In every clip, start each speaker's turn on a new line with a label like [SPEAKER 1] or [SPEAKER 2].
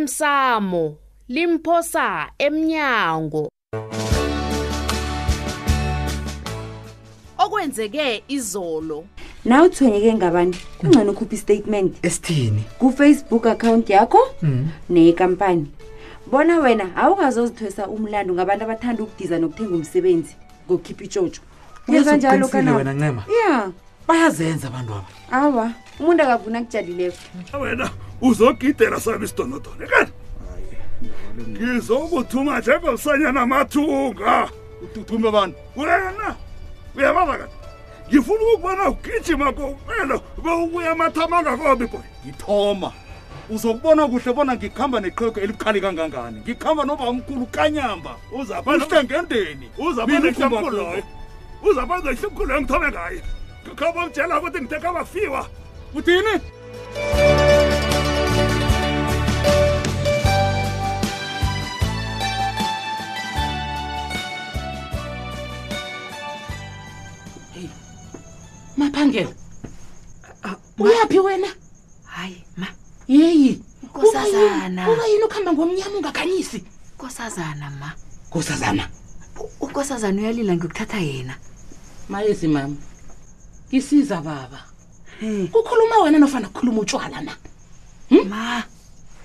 [SPEAKER 1] osemsamo limphosa emnyango okwenzeke izolo
[SPEAKER 2] na uthonyeke ngabantu kungcono ukhupha istatement
[SPEAKER 3] esithini
[SPEAKER 2] kufacebook account yakho
[SPEAKER 3] Mm.
[SPEAKER 2] neyenkampani bona wena awungazozithwesa umlando ngabantu abathanda ukudiza nokuthenga umsebenzi ngokukhipha itshotsho yenza njalo
[SPEAKER 3] Uyazi uqinisile
[SPEAKER 2] kana
[SPEAKER 3] wena ncema
[SPEAKER 2] ya
[SPEAKER 3] bayazenza abantu aba
[SPEAKER 2] awa umuntu akavuna kujalileko
[SPEAKER 4] Ah, wena uzogidela sami isidonodone kani ngizokuthuma njengomsanyana amathunga
[SPEAKER 5] uthuthume abantu
[SPEAKER 4] wena uyababa kani ngifuna ukukubona ugijima kompelo bewubuya amathama angakobi boy
[SPEAKER 5] ngithoma uzokubona kuhle bona ngikuhamba neqhego elibukhali kangangani ngikuhamba noba omkhulu kanyamba
[SPEAKER 4] uzabana
[SPEAKER 5] uhlengendeni
[SPEAKER 4] uzabona ihlomkhulu loyo uzabona ihlomkhulu loyo ngithome ngaye khabo mtshela ukuthi ngiteka bafiwa
[SPEAKER 5] uthini
[SPEAKER 6] maphangela uyaphi wena
[SPEAKER 7] Ah, hayi ma
[SPEAKER 6] yeyi uba yini-
[SPEAKER 7] nkosazana
[SPEAKER 6] uba yini ukuhamba ngomnyama ungakhanyisi
[SPEAKER 7] nkosazana ma
[SPEAKER 6] kosazana
[SPEAKER 7] U- unkosazana uyalila ngiyokuthatha yena
[SPEAKER 6] mayezi mama ngisiza baba
[SPEAKER 7] He.
[SPEAKER 6] kukhuluma wena nofana kukhuluma utshwala na Hm?
[SPEAKER 7] ma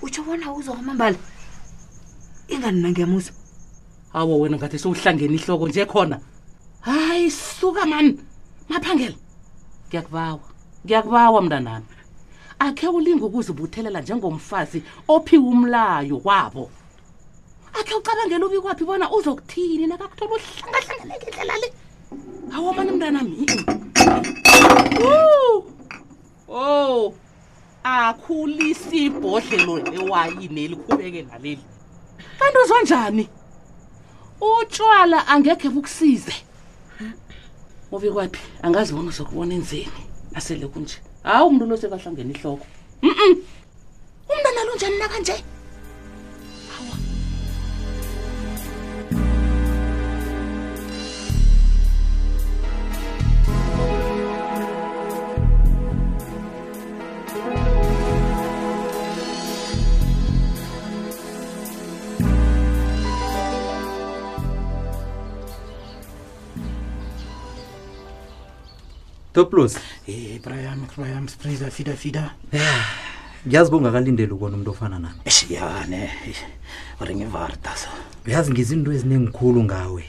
[SPEAKER 7] utsho bona uzwa kwamambala ingani nangiyamuza
[SPEAKER 6] awo wena ngathi sowuhlangene ihloko nje khona hayi suka mani maphangela ngiyakubawa ngiyakubawa mntanami akhe ulinga ukuzibuthelela njengomfazi ophiwe umlayo kwabo akhe ucabangela ubi kwaphi bona uzokuthini nakakuthola uhlangahlanganeka indlela le awo mani mntanami Woo! oh akhulisi ibhodlelo ewayini elikhubeke naleli kanti uzwa njani utshwala angekhe bukusize ubi kwaphi angazi bona uzokubona enzeni asele kunje hawu umntu lo sekahlangena ihloko mm umntana lunjani nakanje
[SPEAKER 3] toplos
[SPEAKER 8] Eh Brian Brian Spriza fida fida.
[SPEAKER 3] ngiyazi bongakalindeli ukubona umuntu ofana nami
[SPEAKER 8] Esiyane. Ore ngivarta so.
[SPEAKER 3] uyazi ngizinto eziningikhulu ngawe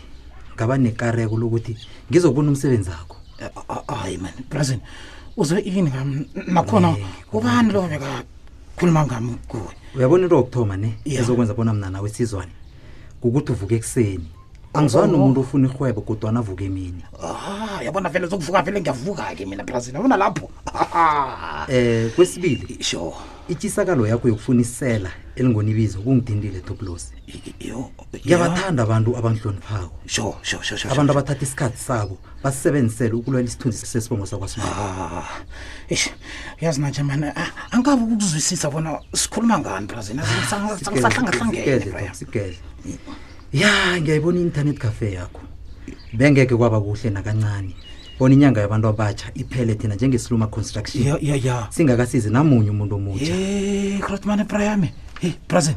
[SPEAKER 3] ngaba nekareko lokuthi ngizobona umsebenzi akho
[SPEAKER 8] Eh, Hayi man, Brazil. Uzwe ini ngam nakhona ubani lo beka khuluma ngami kuwe.
[SPEAKER 3] uyabona into yokuthoma ne
[SPEAKER 8] Ya.
[SPEAKER 3] ezokwenza bona mna nawe sizwane kukuthi uvuke ekuseni angizwani nomuntu ofuna irhwebo kodwana avuke emini
[SPEAKER 8] Ah, yabona vele sokuvuka vele ngiyavuka ke mina Brazil. Yabona lapho. Ah.
[SPEAKER 3] um kwesibili
[SPEAKER 8] Sho.
[SPEAKER 3] itshisakalo yakho yokufuna isela elingonibizo kungidindile toplos
[SPEAKER 8] Yo.
[SPEAKER 3] ngiyabathanda abantu abangihloniphako
[SPEAKER 8] Sho, sho, sho, sho.
[SPEAKER 3] abantu abathatha isikhathi sabo basisebenzisele ukulwela isithunzi sesibongo sakwasinayo
[SPEAKER 8] Ah. Eish. Yazi manje man, angabe ukuzwisisa bona sikhuluma ngani Brazil. Sangisahlanga hlangene.
[SPEAKER 3] sigedle ya ngiyayibona i-internet cafe yakho bengeke kwaba kuhle nakancane bona inyanga yabantu abatsha iphele thina njengesiluma
[SPEAKER 8] Ya
[SPEAKER 3] construction
[SPEAKER 8] ya ya.
[SPEAKER 3] singakasizi namunye umuntu omutsha
[SPEAKER 8] hey crotman prayami hey Eh, brazil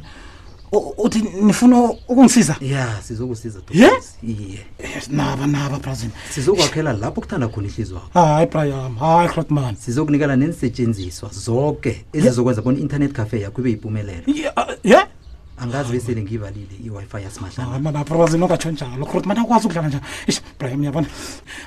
[SPEAKER 8] u- uthi nifuna ukungisiza
[SPEAKER 3] ya sizokusiza Dr.
[SPEAKER 8] Ye?
[SPEAKER 3] Mzi. iye
[SPEAKER 8] Eh, naba naba brazil
[SPEAKER 3] sizokwakhela lapho kuthanda khona ihliziyo wakho
[SPEAKER 8] hayi prayam hayi crotman
[SPEAKER 3] sizokunikela nenisetshenziswa zonke ezizokwenza bona i-internet cafe yakho ibe yipumelelo
[SPEAKER 8] ye
[SPEAKER 3] angazi besele ngiyivalile i-wi-fi yasimahla
[SPEAKER 8] brazil ongatsho njalo crotman akwazi ukudlala njani ish brayam yabona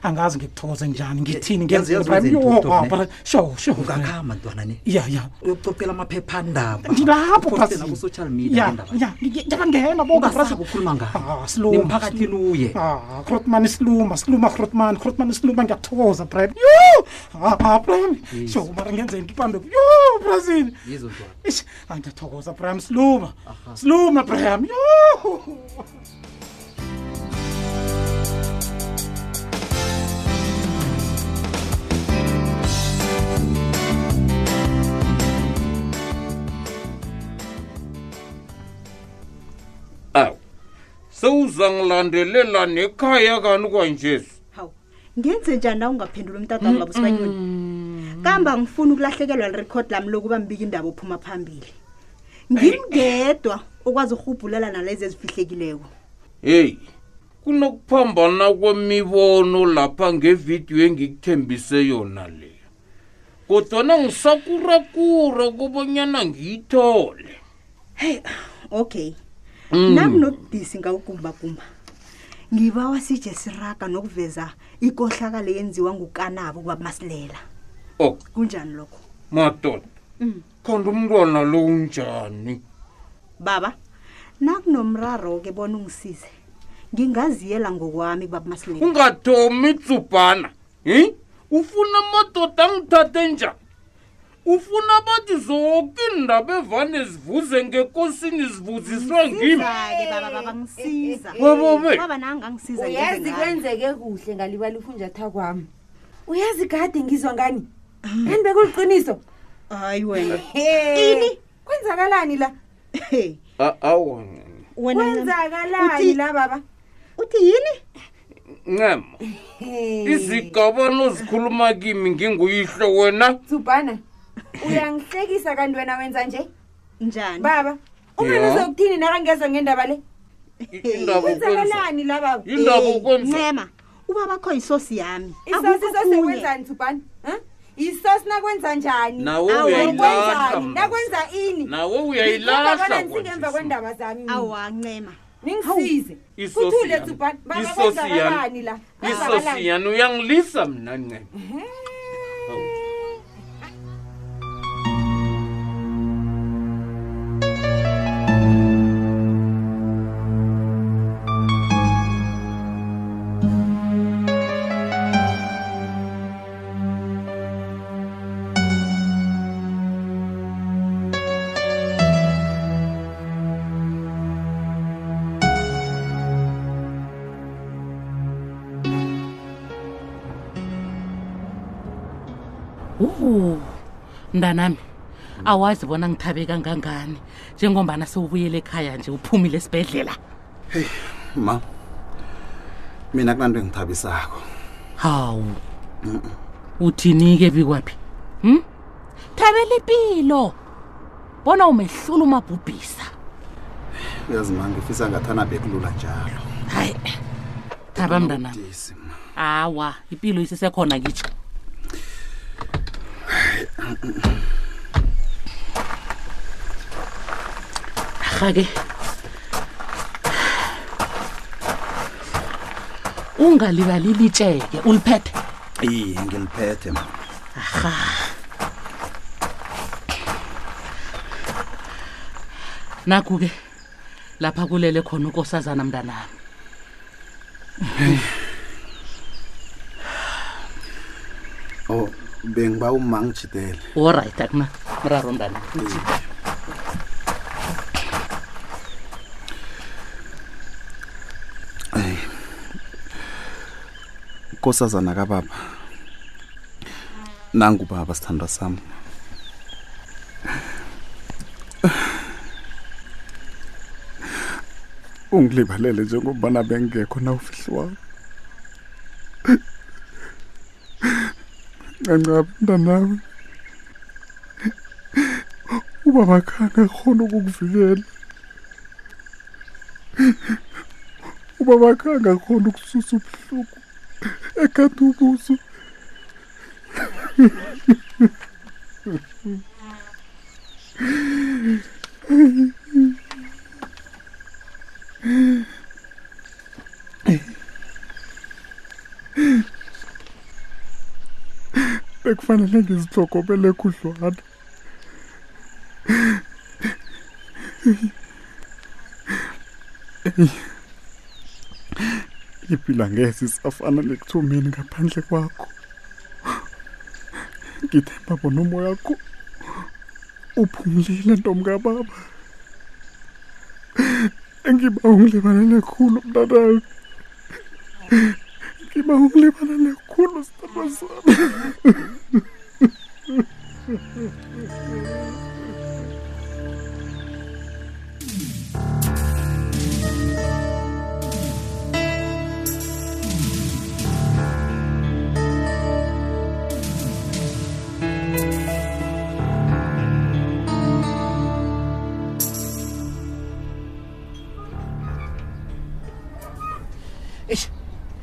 [SPEAKER 8] angazi ngikuthokoze njani ngithini
[SPEAKER 3] Yazi- yazi
[SPEAKER 8] Brian,
[SPEAKER 3] wenzeni,
[SPEAKER 8] yo,
[SPEAKER 3] Dr.
[SPEAKER 8] ah,
[SPEAKER 3] Ne?
[SPEAKER 8] Brian, sho sho Brian.
[SPEAKER 3] ungakhamba ntwana ne
[SPEAKER 8] ya ya
[SPEAKER 3] uyococela amaphephandaba
[SPEAKER 8] ndilapho Brazil.
[SPEAKER 3] social
[SPEAKER 8] Ya,
[SPEAKER 3] media ngendaba
[SPEAKER 8] ya ngiyabangena boka
[SPEAKER 3] ungasabi ukhuluma ngayo.
[SPEAKER 8] Ah, siluma
[SPEAKER 3] Nemphakathini uye.
[SPEAKER 8] ah crotman siluma siluma crotman crotman siluma ngiyakuthokoza brian yo ah ah, brian sho mara ngenzeni ngibambe yo brazil
[SPEAKER 3] yizo ntwana
[SPEAKER 8] ish angiyathokoza brian siluma siluma brian yo
[SPEAKER 9] awu sewuzangilandelela nekhaya kani kwanjesu
[SPEAKER 10] hawu ngenze njani na ungaphendula umtatami baba usibanyoni kambe angifuni ukulahlekelwa lirekhodi lami lokuba mbika indaba ophuma phambili ngimngedwa okwazi urhubhulela nalezi ezifihlekileko
[SPEAKER 4] heyi kunokuphambana kwemibono lapha ngevidiyo engikuthembise yona leyo kodwana ngisakurakura kubonyana ngiyithole
[SPEAKER 10] heyi okay
[SPEAKER 4] Mm.
[SPEAKER 10] nakunobudisi ngawugumbagumba ngibawa sije siraga nokuveza ikohlakalo yenziwa ngukanabo kwamasilela
[SPEAKER 4] ok
[SPEAKER 10] kunjani lokho
[SPEAKER 4] madoda
[SPEAKER 10] Mm.
[SPEAKER 4] kanti umntwana lo unjani
[SPEAKER 10] baba nakunomraro-ke bona ungisize ngingaziyela ngokwami babamasilela
[SPEAKER 4] ungathomi tsubhana hi ufuna madoda angithathe njani ufuna bathi zonke iindaba evane zivuze ngekosini zivuziswa ngimi
[SPEAKER 10] Ngisiza-ke baba baba ngisiza
[SPEAKER 4] Baba, we.
[SPEAKER 10] baba nangangisiza
[SPEAKER 2] uyazi kwenzeke kuhle ngalibala ifunjatha kwami uyazi kade ngizwa ngani kanti bekuliqiniso
[SPEAKER 10] hayi wena
[SPEAKER 2] ini kwenzakalani la
[SPEAKER 4] awa
[SPEAKER 10] Wena Ncema,
[SPEAKER 2] kwenzakalani
[SPEAKER 10] uthi-
[SPEAKER 2] la baba
[SPEAKER 10] uthi yini
[SPEAKER 4] ncema izigabano zikhuluma kimi nginguyihlo wena
[SPEAKER 2] zubhana uyangihlekisa kanti wena wenza nje
[SPEAKER 10] njani
[SPEAKER 2] baba umani
[SPEAKER 4] Ya.
[SPEAKER 2] uzokuthini nakangezwa ngendaba le
[SPEAKER 4] indaba ukwenza-
[SPEAKER 2] kwenzakalani la baba
[SPEAKER 4] Indaba ukwenza-
[SPEAKER 10] ncema ubabakho yisosi yami
[SPEAKER 2] isosi
[SPEAKER 10] Akukho okhunye.
[SPEAKER 2] sosekwenzani zubhana yisosi nakwenza njani
[SPEAKER 4] Nawe
[SPEAKER 2] Awu,
[SPEAKER 4] uyayilahla,
[SPEAKER 2] nakwenzani?
[SPEAKER 4] mna.
[SPEAKER 2] nakwenza ini
[SPEAKER 4] Nawe uyayilahla,
[SPEAKER 2] Ngithanda bona ngisingemva
[SPEAKER 4] Kwandisa.
[SPEAKER 2] kwendaba zami mina.
[SPEAKER 10] awa ncema
[SPEAKER 2] ningisize
[SPEAKER 4] Isosi
[SPEAKER 2] kuthule
[SPEAKER 4] yami.
[SPEAKER 2] zubhana baba
[SPEAKER 4] Isosi yami.
[SPEAKER 2] kwenzakalani la Kwenzakalani?
[SPEAKER 4] isosi yani uyangilisa mna ncema
[SPEAKER 6] uhu mntanami awazi bona ngithabe kangangani njengombana sewubuyele ekhaya nje uphumile esibhedlela
[SPEAKER 11] ma mina kunanto engithabisako
[SPEAKER 6] hawu uthini-ke bikwaphi hm thabela impilo bona umehlula umabhubhisa
[SPEAKER 11] uyazi ma ngifisa ngathana bekulula njalo
[SPEAKER 6] hayi thaba mntanami awa impilo isesekhona ngitsho rhake ungalibali litsheke uliphethe
[SPEAKER 11] iye ngiliphethe ma
[SPEAKER 6] rha naku-ke lapha kulele khona ukosazana mntanami
[SPEAKER 11] o Oh, bengiba uma ngijidele
[SPEAKER 6] olright akuna mraro mntanami
[SPEAKER 11] nkosazana kababa nangubaba sithandwa sami ungilibalele njengobana bengekho na ufihliwako ncancaba mntanawe ubaba khanga khona ukukuvikela ubaba khanga khona ukususa ubuhlungu ekade ubuso bekufanele ngizihlogobele khudlwana impilo angeze isafana lekuthomeni ngaphandle kwakho ngithemba bona umoyakho uphumlile ntomkababa ngiba ungilibalele khulu mntanami ngiba ungilibalele khulu sithandwa sami
[SPEAKER 12] eish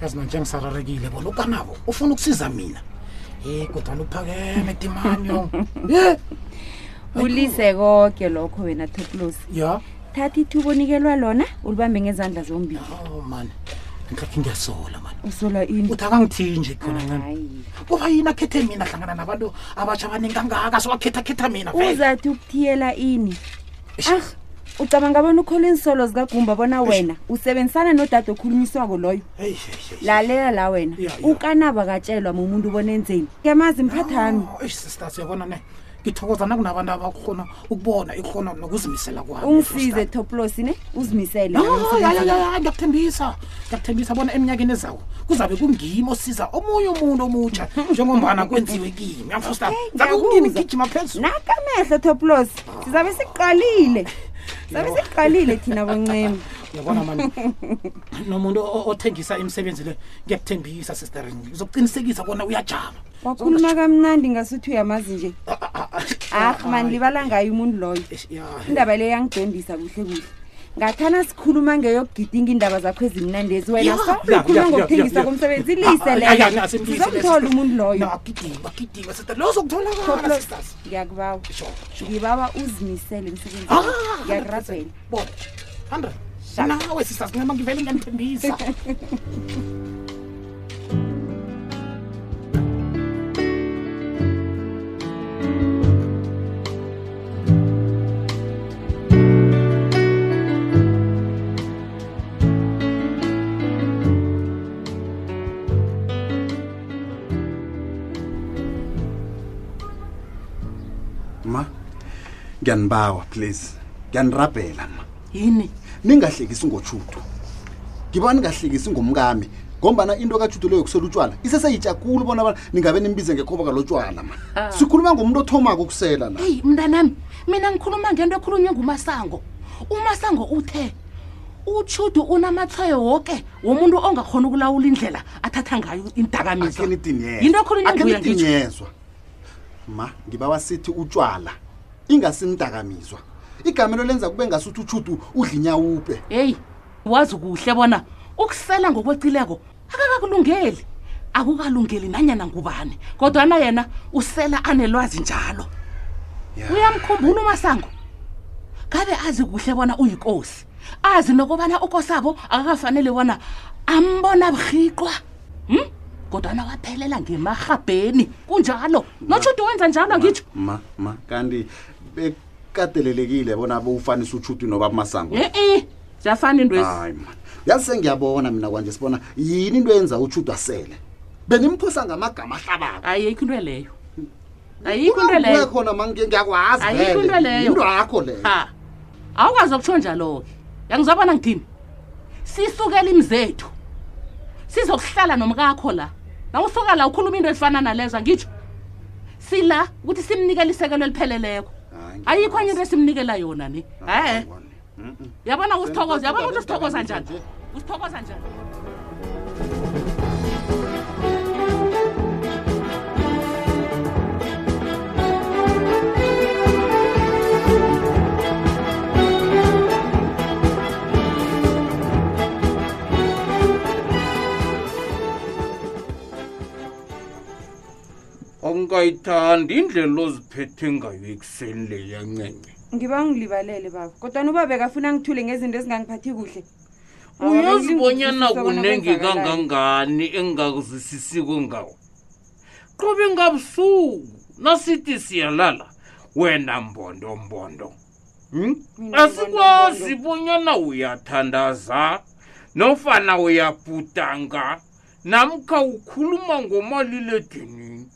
[SPEAKER 12] yazi nanje ngisararekile bona ukanabo ufuna ukusiza mina ye kodwana uphakeme timanyo ye
[SPEAKER 2] ulise koke lokho wena toplos
[SPEAKER 12] ya
[SPEAKER 2] thatha ithuba onikelwa lona ulibambe ngezandla zombili
[SPEAKER 12] mani nhlakhe Oh, ngiyasola mani
[SPEAKER 2] usola ini
[SPEAKER 12] uthi akangithiyi nje khona ncane kuba yini akhethe mina hlangana nabantu abatsha abaningi kangaka sowakhethakhetha mina vele
[SPEAKER 2] uzathi ukuthiyela ini ah ucabanga bona ukhola iinsolo zikagumba bona wena usebenzisana nodade okhulunyiswako loyo lalela la wena ukanaba katshelwa mumuntu bona enzeni ngemazi mphathami
[SPEAKER 12] Oh, eish sisters uyabona ne ngithokoza nakunabantu abakhona ukubona ikhona nokuzimisela kwami
[SPEAKER 2] ungisize toplosi ne uzimisele wena emsebenzini.
[SPEAKER 12] ngiyakuthembisa ngiyakuthembisa bona eminyakeni ezawo kuzabe kungimi osiza omunye umuntu omutsha njengombana kwenziwe kimi yamfosta zabe kungimi gijima phezulu
[SPEAKER 2] nakamehlo toplos sizabe siqalile sabe siqalile thina boncema
[SPEAKER 12] Uyabona mani. nomuntu o- othengisa imisebenzi le ngiyakuthembisa sister ngizokuqinisekisa bona uyajama
[SPEAKER 2] wakhuluma kamnandi ngasuthi uyamazi nje ah man libala ngayo umuntu loyo indaba le yangidondisa kuhle kuhle ngathana sikhuluma ngeyokugidinga iindaba zakho ezimnandezi wena
[SPEAKER 12] Ya, ya,
[SPEAKER 2] sokhuluma
[SPEAKER 12] ya, ya, ya,
[SPEAKER 2] ngokuthengiswa
[SPEAKER 12] ya.
[SPEAKER 2] komsebenzi
[SPEAKER 12] Ah,
[SPEAKER 2] lise
[SPEAKER 12] ah, ah, ah, ah, simlise leso.
[SPEAKER 2] lezomthola umuntu loyo
[SPEAKER 12] Nagidinga, gidinga sister lo sokutholakala
[SPEAKER 2] Toplos,
[SPEAKER 12] sisters.
[SPEAKER 2] ngiyakubawa ngibawa uzimisele emsebenzini
[SPEAKER 12] Ah,
[SPEAKER 2] ngiyakurabhela
[SPEAKER 12] Hundred. nawe sisters ncema ngivele ngiyanithembisa
[SPEAKER 8] ma ngiyanibawa please ngiyanirabhela ma
[SPEAKER 6] yini
[SPEAKER 8] ningahlekisi ngotshudu ngiba ningahlekisi ngomkami ngombana into katshudu leyo kusela utshwala iseseyitsha kulu bona bana ningabe nimbize ngekhoba kalo tshwala ma
[SPEAKER 6] Ah.
[SPEAKER 8] sikhuluma ngomuntu othomako ukusela la
[SPEAKER 6] eyi mntanami mina ngikhuluma ngento ekhulunywe ngumasango umasango uthe utshudu unamathwayo woke womuntu ongakhona ukulawula indlela athatha ngayo indakamizwa yinto ekhulunywe nguye ngitsho
[SPEAKER 8] akenitinyezwa ma ngiba wasithi utshwala ingasindakamizwa igamelo lenza kube ngasuthi utshudu udlinyawupe
[SPEAKER 6] heyi wazi kuhle bona ukusela ngokwecileko akakakulungeli akukalungeli nanyana ngubani kodwana yena usela anelwazi njalo uyamkhumbula umasango kabe azi kuhle bona uyikosi azi nokobana ukosabo akakafanele bona ambona buhiqwa hmm? kodwana waphelela ngemarhabheni kunjalo notshuti wenza njalo angitsho
[SPEAKER 8] ma ma kanti bekatelelekile bona bowufanisa utshudu noba masango
[SPEAKER 6] e-e ziyafana
[SPEAKER 8] hayi man yazi sengiyabona mina kwanje sibona yini into yenza utshudu asele benimphosa ngamagama ahlabako
[SPEAKER 6] ayikho into leyo ayikho into leyo
[SPEAKER 8] khona ma ngiy- ngiyakwazi
[SPEAKER 6] ayikho into
[SPEAKER 8] vele.
[SPEAKER 6] leyo
[SPEAKER 8] Yinto yakho leyo
[SPEAKER 6] Ha. awukwazi ukutsho njalo-ke yangizwabona ngithini sisukela imzethu sizokuhlala nomkakho la nawusuka la e ukhuluma into ezifana nalezo angitsho sila ukuthi simnikele isekelo elipheleleko ayikho enye into esimnikela yona ne
[SPEAKER 8] Ah,
[SPEAKER 6] e-e yabona usithokoza yabona ukuthi usithokoza njani usithokoza njani
[SPEAKER 4] angayithandi indlela oziphethe ngayo ekuseni le yancence
[SPEAKER 2] ngiba ngilibalele baba kodwa uba bekafuna ngithule ngezinto ezingangiphathi kuhle
[SPEAKER 4] uyazibonyana kunenge kangangani engingakuzwisisiko ngawo qobe ngabusuku nasithi siyalala wena mbondo mbondo Hmm? asikwazi bonyana uyathandaza nofana uyabhudanga namkha ukhuluma ngomaliledinini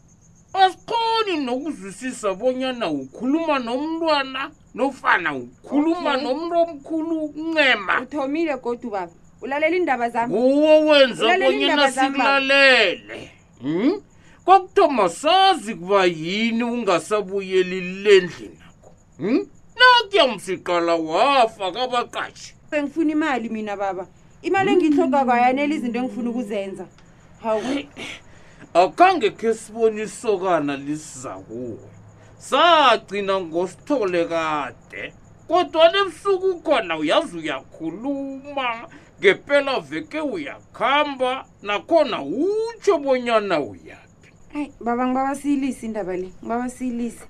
[SPEAKER 4] asikhoni nokuzwisisa bonyana ukhuluma nomntwana nofana ukhuluma
[SPEAKER 2] Okay.
[SPEAKER 4] nomntu omkhulu ncema
[SPEAKER 2] uthomile godu baba ulalela iindaba zami
[SPEAKER 4] nguwo wenza
[SPEAKER 2] Ulalela
[SPEAKER 4] bonyana
[SPEAKER 2] iindaba zami, baba.
[SPEAKER 4] sikulalele Hmm? kokuthoma sazi kuba yini ungasabuyeli le ndlini akho Hmm? nakuya msiqala wafa kabaqashi
[SPEAKER 2] sengifuna imali mina baba imali engiyihloga
[SPEAKER 4] Hmm.
[SPEAKER 2] kwayanela izinto engifuna ukuzenza hawu
[SPEAKER 4] akhange khe sibone isokana lisiza kuwe sagcina ngosithole kade kodwa nebusuku khona uyazi uyakhuluma ngempela veke uyakhamba nakhona utsho bonyana uya
[SPEAKER 2] hayi baba ngibabasiyilise indaba le ngibabasiyilise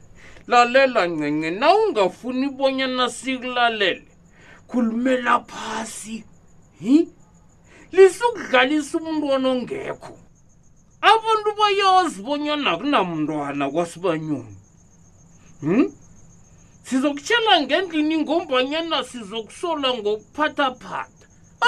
[SPEAKER 4] lalela ncenye na ungafuni bonyana sikulalele khulumela phasi hi lisukudlalisa umntwana ongekho abantu bayazi bonyana kunamntwana kwasibanyoni hm sizokutshela ngendlini ngombanyana sizokusola ngokuphathaphatha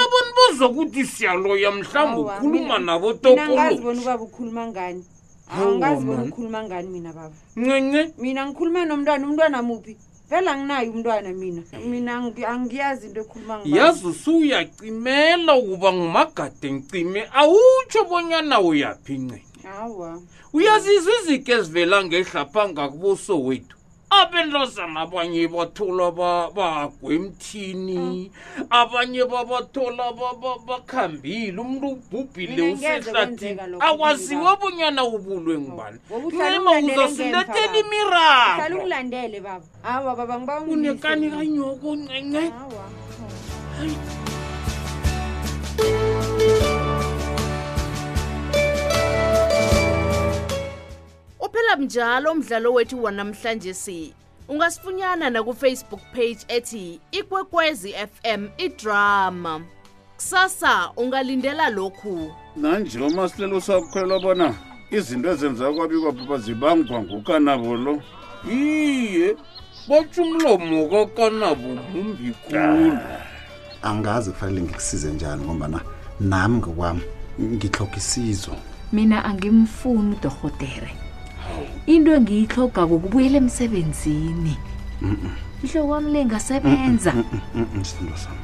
[SPEAKER 4] abantu bazokuthi siyaloya mhlawumbe
[SPEAKER 2] Awa,
[SPEAKER 4] ukhuluma
[SPEAKER 2] mina-
[SPEAKER 4] nabo
[SPEAKER 2] mina angazi
[SPEAKER 4] tokolo
[SPEAKER 2] bona ubaba ukhuluma ngani
[SPEAKER 4] Hawa,
[SPEAKER 2] angazi bona
[SPEAKER 4] man.
[SPEAKER 2] ukhuluma ngani mina baba
[SPEAKER 4] ncence
[SPEAKER 2] mina ngikhuluma nomntwana umntwana muphi vele anginaye umntwana mina mina angi- angiyazi into ekhuluma ngayo
[SPEAKER 4] yazi usuyacimela ukuba ngumagade ngicime awutsho bonyana uyaphi ncence
[SPEAKER 2] hawa
[SPEAKER 4] uyazizwa izinto ezivela ngehlaphanga kubuso wethu abentazana abanye bathola ba- bagwe emthini abanye babathola ba- ba- bakhambile umntu ubhubhile
[SPEAKER 2] Mina ngeze kwenzeka
[SPEAKER 4] usehlathini
[SPEAKER 2] lokho
[SPEAKER 4] akwaziwa bonyana ubulwe ngubani
[SPEAKER 2] uhlala
[SPEAKER 4] ncema
[SPEAKER 2] ungilandele ngemva,
[SPEAKER 4] uzosilethela
[SPEAKER 2] baba. Uhlala
[SPEAKER 4] imiraro
[SPEAKER 2] ungilandele baba hawa baba ngiba
[SPEAKER 4] unekani kanyoko ncence
[SPEAKER 1] uphela mnjalo umdlalo wethu wanamhlanje si ungasifunyana nakufacebook page ethi ikwekwezi fm idrama kusasa ungalindela lokhu
[SPEAKER 5] nanje umasilelo usakhwelwa bona izinto ezenzeka kwabikwa baba zibangwa ngukanabo lo
[SPEAKER 4] iye batsho umlomo kakanabo mumbi khulu
[SPEAKER 8] angazi kufanele ngikusize njani ngombana nami ngokwami ngitloga isizo
[SPEAKER 13] mina angimfuni udorhotere into engiyihlogako kubuyela emsebenzini
[SPEAKER 8] Mm, mm,
[SPEAKER 13] ihloko wami le ngasebenza
[SPEAKER 8] mm, mm, mm, mm, sithandwa sami